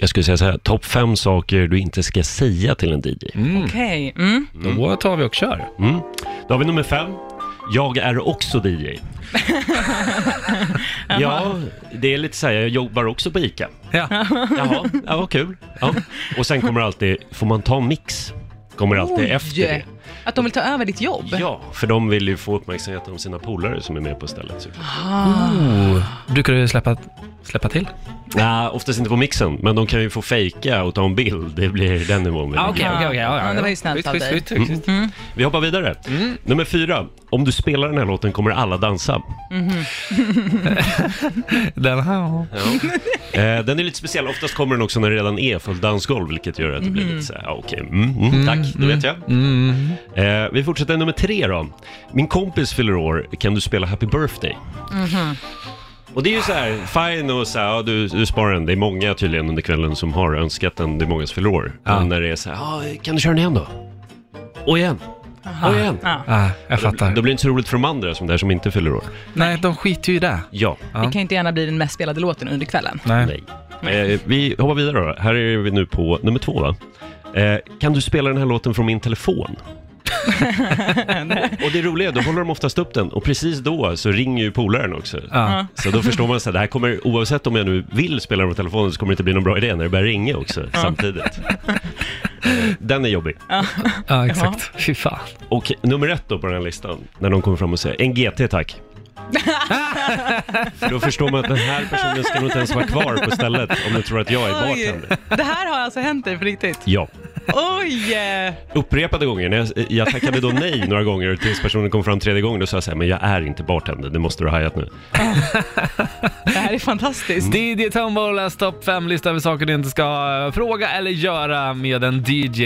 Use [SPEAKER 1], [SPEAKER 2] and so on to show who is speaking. [SPEAKER 1] Jag skulle säga så här, topp fem saker du inte ska säga till en DJ.
[SPEAKER 2] Mm.
[SPEAKER 3] Okej. Mm.
[SPEAKER 2] Då tar vi och kör.
[SPEAKER 1] Mm. Då har vi nummer fem. Jag är också DJ. ja, det är lite så här, jag jobbar också på ICA.
[SPEAKER 2] Ja.
[SPEAKER 1] Jaha, ja, vad kul. Ja. Och sen kommer alltid, får man ta mix? Kommer alltid
[SPEAKER 3] Oj.
[SPEAKER 1] efter det.
[SPEAKER 3] Att de vill ta över ditt jobb?
[SPEAKER 1] Ja, för de vill ju få uppmärksamheten om sina polare som är med på stället. såklart.
[SPEAKER 2] Oh. Brukar du släppa, släppa till?
[SPEAKER 1] Nej, oftast inte på mixen, men de kan ju få fejka och ta en bild. Det blir den nivån vi ligger.
[SPEAKER 3] Ah, okej, okej, ja, ja, Ja, det var ju snällt
[SPEAKER 2] Visst,
[SPEAKER 3] av
[SPEAKER 2] visst,
[SPEAKER 3] dig. Mm.
[SPEAKER 2] visst, visst.
[SPEAKER 1] Vi hoppar vidare. Nummer fyra. Om du spelar den här låten kommer alla dansa.
[SPEAKER 2] Den här.
[SPEAKER 1] Eh, den är lite speciell. Oftast kommer den också när det redan är fullt dansgolv, vilket gör att det blir lite så här, ja, okej, mm, mm, tack, det vet jag.
[SPEAKER 2] Mm.
[SPEAKER 1] Eh, vi fortsätter nummer tre då. Min kompis fyller år, kan du spela Happy birthday? Och det är ju så här, fine och så här, ja, du, du sparar den. Det är många tydligen under kvällen som har önskat den, det är många som fyller år.
[SPEAKER 2] Ja.
[SPEAKER 1] Men när det är så här, ja, kan du köra den igen då? Och igen, och igen.
[SPEAKER 3] Ja.
[SPEAKER 2] Ah, jag
[SPEAKER 1] Då
[SPEAKER 2] fattar.
[SPEAKER 1] blir det inte så roligt för de andra som, där, som inte fyller år.
[SPEAKER 2] Nej, de skiter ju i det.
[SPEAKER 1] Ja.
[SPEAKER 3] Det kan ju inte gärna bli den mest spelade låten under kvällen.
[SPEAKER 2] Nej.
[SPEAKER 1] Nej. Eh, vi hoppar vidare då. Här är vi nu på nummer två va? Eh, kan du spela den här låten från min telefon? och det roliga är, då håller de oftast upp den och precis då så ringer ju polaren också.
[SPEAKER 2] Ja.
[SPEAKER 1] Så då förstår man så här, det här kommer, oavsett om jag nu vill spela den på telefonen så kommer det inte bli någon bra idé när det börjar ringa också samtidigt. Eh, Den är jobbig.
[SPEAKER 2] ja, Ah, exakt. Fy fan.
[SPEAKER 1] Och nummer ett då på den här listan, när de kommer fram och säger en GT tack. För då förstår man att den här personen ska nog inte ens vara kvar på stället om du tror att jag är bartender.
[SPEAKER 3] Det här har alltså hänt dig på riktigt?
[SPEAKER 1] Ja.
[SPEAKER 3] Oj! eh,
[SPEAKER 1] upprepade gånger. När jag, jag tackade då nej några gånger tills personen kom fram tredje gången. Då sa jag så här, men jag är inte bartender, det måste du ha hajat nu.
[SPEAKER 3] Det här är fantastiskt.
[SPEAKER 2] DJ Tombolas topp 5-lista över saker du inte ska eh, fråga eller göra med en DJ.